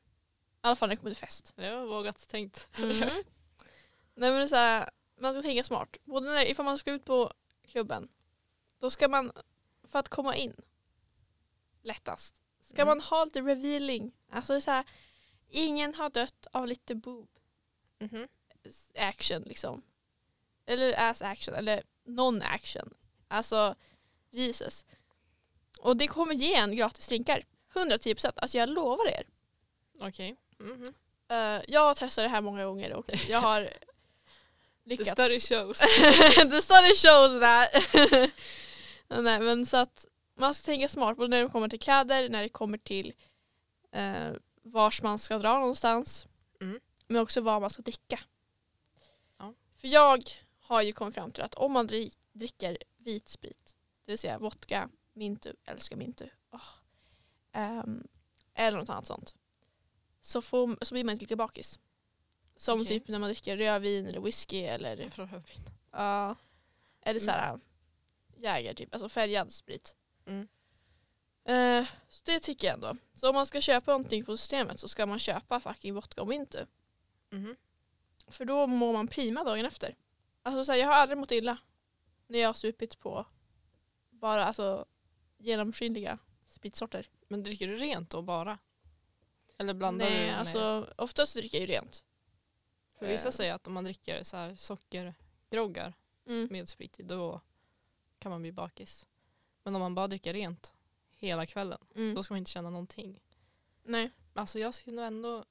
Speaker 2: alla fall när det kommer till fest.
Speaker 3: Det var vågat tänkt.
Speaker 2: Mm. Nej, men det är så här, man ska tänka smart. Både när, ifall man ska ut på klubben, då ska man, för att komma in lättast, ska
Speaker 3: Mm.
Speaker 2: man ha lite revealing. Alltså det är så här, ingen har dött av lite boob Mhm. action liksom. Eller ass action, eller non-action. Alltså, Jesus. Och det kommer ge en gratis drinkar. 110%, alltså jag lovar er.
Speaker 3: Okej. Mhm.
Speaker 2: Eh, jag har testat det här många gånger och jag har
Speaker 3: The
Speaker 2: lyckats.
Speaker 3: study shows.
Speaker 2: The study shows that. Nej men så att man ska tänka smart både när det kommer till kläder, när det kommer till eh, vars man ska dra någonstans.
Speaker 3: Mm.
Speaker 2: Men också vad man ska dricka.
Speaker 3: Ja.
Speaker 2: För jag har ju kommit fram till att om man dri- dricker vit sprit, det vill säga vodka, mintu, älskar mintu, åh, ehm, eller något annat sånt, så, får, så blir man inte lika bakis. Som
Speaker 3: Okej.
Speaker 2: typ när man dricker rödvin eller whisky eller
Speaker 3: Det är bra överbild.
Speaker 2: Ja. Eller så här jäger typ, alltså färgad sprit.
Speaker 3: Mm.
Speaker 2: Eh, så det tycker jag ändå. Så om man ska köpa någonting på systemet så ska man köpa fucking vodka om inte.
Speaker 3: Mhm.
Speaker 2: För då mår man prima dagen efter. Alltså så här, jag har aldrig mått illa när jag har supit på bara alltså, genomskinliga spritsorter.
Speaker 3: Men dricker du rent då bara? Eller blandar du?
Speaker 2: Nej,
Speaker 3: med-
Speaker 2: alltså, oftast dricker jag ju rent.
Speaker 3: För vissa
Speaker 2: eh.
Speaker 3: säger att om man dricker så här sockergroggar
Speaker 2: mm,
Speaker 3: med sprit i då kan man bli bakis. Men om man bara dricker rent hela kvällen
Speaker 2: Mm.
Speaker 3: då ska man inte känna någonting.
Speaker 2: Nej.
Speaker 3: Alltså jag skulle nog ändå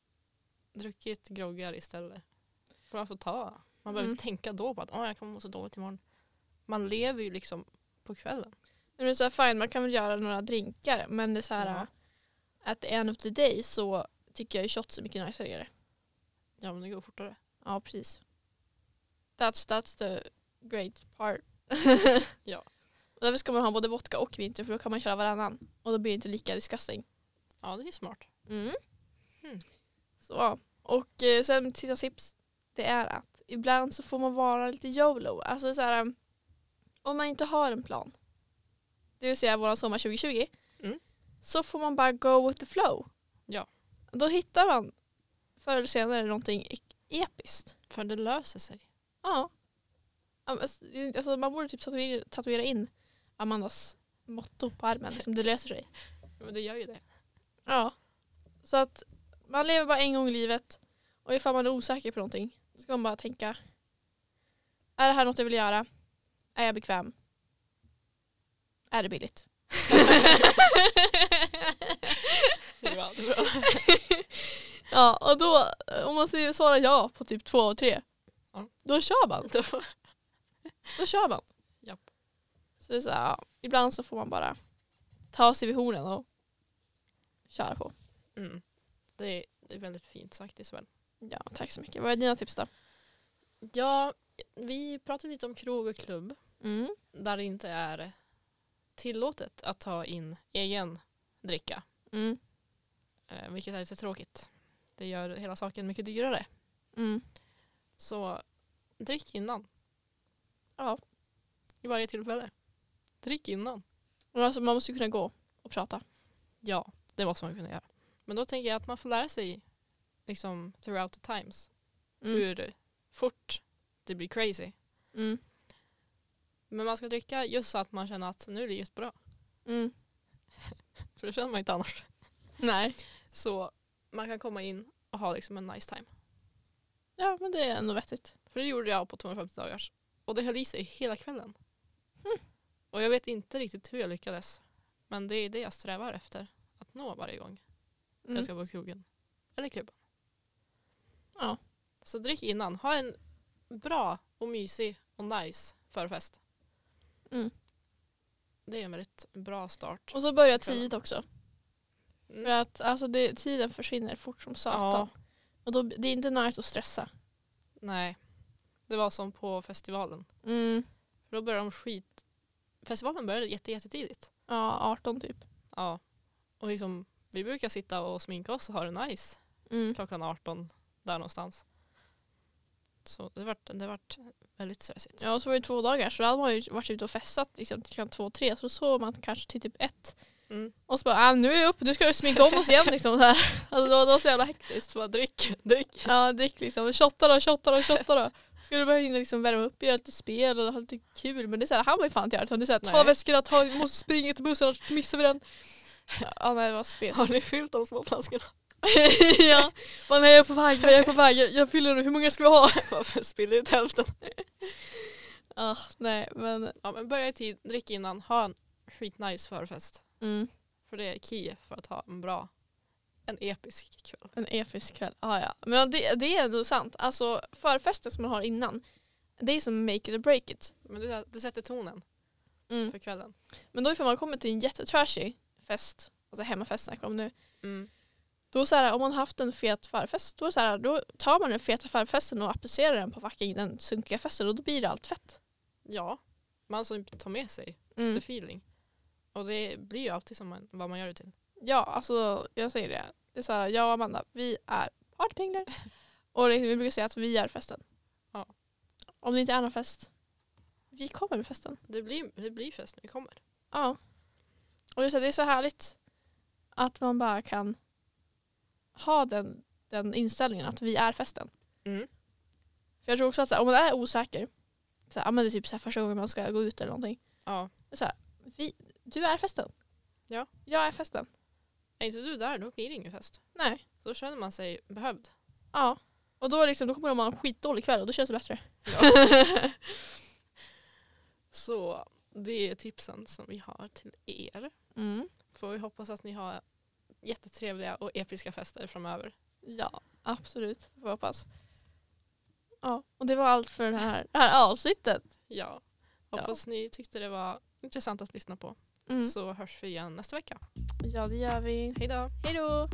Speaker 3: druckit groggar istället. För man får ta. Man behöver
Speaker 2: Mm.
Speaker 3: inte tänka då på att "Åh, jag kommer må så dåligt imorgon. Man lever ju liksom på kvällen.
Speaker 2: Men det är så här, fine, man kan väl göra några drinkar men det är så här
Speaker 3: Ja.
Speaker 2: at the end of the day så tycker jag ju shots är mycket najsigare.
Speaker 3: Ja men det går fortare.
Speaker 2: Ja, precis. That's, that's the great part.
Speaker 3: Ja.
Speaker 2: Och därför ska man ha både vodka och vinter för då kan man köra varannan och då blir det inte lika disgusting.
Speaker 3: Ja det är smart. Hmm.
Speaker 2: Mm. Så. Och eh, sen sista tips det är att ibland så får man vara lite YOLO. Alltså så här, um, om man inte har en plan, det vill säga våran sommar 2020,
Speaker 3: Mm.
Speaker 2: så får man bara go with the flow.
Speaker 3: Ja.
Speaker 2: Då hittar man förr eller senare någonting e- episkt.
Speaker 3: För det löser sig.
Speaker 2: Ja. Ja, men alltså, Alltså, man borde typ tatuera, tatuera in Amandas motto på armen, som det löser sig.
Speaker 3: Men det gör ju det.
Speaker 2: Ja. Så att man lever bara en gång i livet och ifall man är osäker på någonting då ska man bara tänka. Är det här något jag vill göra? Är jag bekväm? Är det billigt?
Speaker 3: Det är bra, det är bra.
Speaker 2: ja, och då om man säger- svarar ja på typ två av tre
Speaker 3: Ja.
Speaker 2: då kör man. Då kör man.
Speaker 3: Japp.
Speaker 2: Så det är så här, ja, ibland så får man bara ta sig vid hornen och köra på.
Speaker 3: Mm. Det, är, det är väldigt fint sagt Isabel.
Speaker 2: Ja, tack så mycket. Vad är dina tips då?
Speaker 3: Ja, vi pratade lite om krog och klubb
Speaker 2: Mm.
Speaker 3: där det inte är tillåtet att ta in egen dricka.
Speaker 2: Mm.
Speaker 3: Eh, vilket är lite tråkigt. Det gör hela saken mycket dyrare.
Speaker 2: Mm.
Speaker 3: Så drick innan.
Speaker 2: Ja.
Speaker 3: I varje tillfälle. Drick innan.
Speaker 2: Men Alltså, man måste ju kunna gå och prata.
Speaker 3: Ja, det måste man kunna göra. Men då tänker jag att man får lära sig liksom throughout the times hur fort det blir crazy.
Speaker 2: Mm.
Speaker 3: Men man ska dricka just så att man känner att nu är det just bra.
Speaker 2: Mm.
Speaker 3: För det känner man inte annars.
Speaker 2: Nej.
Speaker 3: Så man kan komma in och ha liksom en nice time.
Speaker 2: Ja men det är ändå vettigt.
Speaker 3: För det gjorde jag på 250 dagars. Och det höll i sig hela kvällen. Och jag vet inte riktigt hur jag lyckades. Men det är det jag strävar efter. Att nå varje gång
Speaker 2: Mm.
Speaker 3: jag ska på krogen. Mm. Eller klubben.
Speaker 2: Ja.
Speaker 3: Så drick innan. Ha en bra och mysig och nice förfest.
Speaker 2: Mm.
Speaker 3: Det är en väldigt bra start.
Speaker 2: Och så börja
Speaker 3: Kvällen.
Speaker 2: tidigt också.
Speaker 3: Mm.
Speaker 2: För att alltså, det, tiden försvinner fort som satan. Och då, det är inte nice att stressa.
Speaker 3: Nej. Det var som på festivalen. Mm. För då började de skit... Festivalen började jätte, jättetidigt.
Speaker 2: Ja 18 typ.
Speaker 3: Ja. Och liksom, vi brukar sitta och sminka oss och ha det nice klockan 18 där någonstans. Så det vart, det vart väldigt stressigt.
Speaker 2: Ja och så var det två dagar så då hade man ju varit ute och festat liksom, till klockan två, tre. Så då sov man kanske till typ ett.
Speaker 3: Mm.
Speaker 2: Och så bara äh, nu är jag uppe, nu ska vi sminka om oss igen liksom. Så här. Alltså, det var det var så jävla hektiskt.
Speaker 3: Så bara drick, drick.
Speaker 2: Ja, drick liksom. Shotta då, shotta då, shotta då. Ska du börja hinna liksom värma upp och göra lite spel och ha lite kul. Men det är så här, han var ju fan inte göra det. Det är så här, ta
Speaker 3: Nej.
Speaker 2: väskorna, ta, vi måste springa till bussen annars missar vi den. Ja, nej det var spes.
Speaker 3: Har ni fyllt de små flaskorna?
Speaker 2: ja, bara, nej jag är på väg, jag är på väg, jag, jag fyller nu, hur många ska vi ha?
Speaker 3: Varför spiller ut hälften?
Speaker 2: Ja, nej men.
Speaker 3: Ja men börja i tid, drick innan, ha en skitnice förfest.
Speaker 2: Mm,
Speaker 3: För det är key för att ha en bra, en episk kväll.
Speaker 2: en episk kväll. Ja, ja. Men det, det är ändå sant. Alltså förfesten som man har innan, det är som make it or break it.
Speaker 3: Men det, det sätter tonen
Speaker 2: Mm.
Speaker 3: för kvällen.
Speaker 2: Men då ifall man kommer till en jättetrashig fest, alltså hemmafest snackar jag om nu,
Speaker 3: Mm.
Speaker 2: Då så här, om man haft en fet förfest, då, är det så här, då tar man den feta förfesten och applicerar den på fucking den sunkiga festen och då blir det allt fett.
Speaker 3: Ja, man som tar med sig the
Speaker 2: Mm.
Speaker 3: feeling. Och det blir ju alltid som man, vad man gör det till.
Speaker 2: Ja, alltså jag säger det. Det är så här, jag och Amanda, vi är partypinglar. Och det, vi brukar säga att vi är festen.
Speaker 3: Ja.
Speaker 2: Om det inte är någon fest, vi kommer med festen.
Speaker 3: Det blir, det blir fest när vi kommer.
Speaker 2: Ja. Och det är så, här, det är så härligt att man bara kan ha den, den inställningen att vi är festen.
Speaker 3: Mm.
Speaker 2: För jag tror också att så här, om man är osäker, så här, ja, men det är typ så här första gången man ska gå ut eller någonting.
Speaker 3: Ja.
Speaker 2: så här, vi, du är festen.
Speaker 3: Ja.
Speaker 2: Jag är festen.
Speaker 3: Är inte du där då blir det ingen fest.
Speaker 2: Nej.
Speaker 3: Så då känner man sig behövd.
Speaker 2: Ja. Och då, liksom, då kommer de ha en skitdålig kväll och då känns det bättre.
Speaker 3: Så det är tipsen som vi har till er. Får vi hoppas att ni har jättetrevliga och episka fester framöver.
Speaker 2: Ja, absolut. Får jag hoppas. Ja, och det var allt för det här, det här avsnittet.
Speaker 3: Ja. Hoppas ni tyckte det var intressant att lyssna på.
Speaker 2: Mm.
Speaker 3: Så hörs vi igen nästa vecka.
Speaker 2: Ja, det gör vi.
Speaker 3: Hej då!
Speaker 2: Hej då!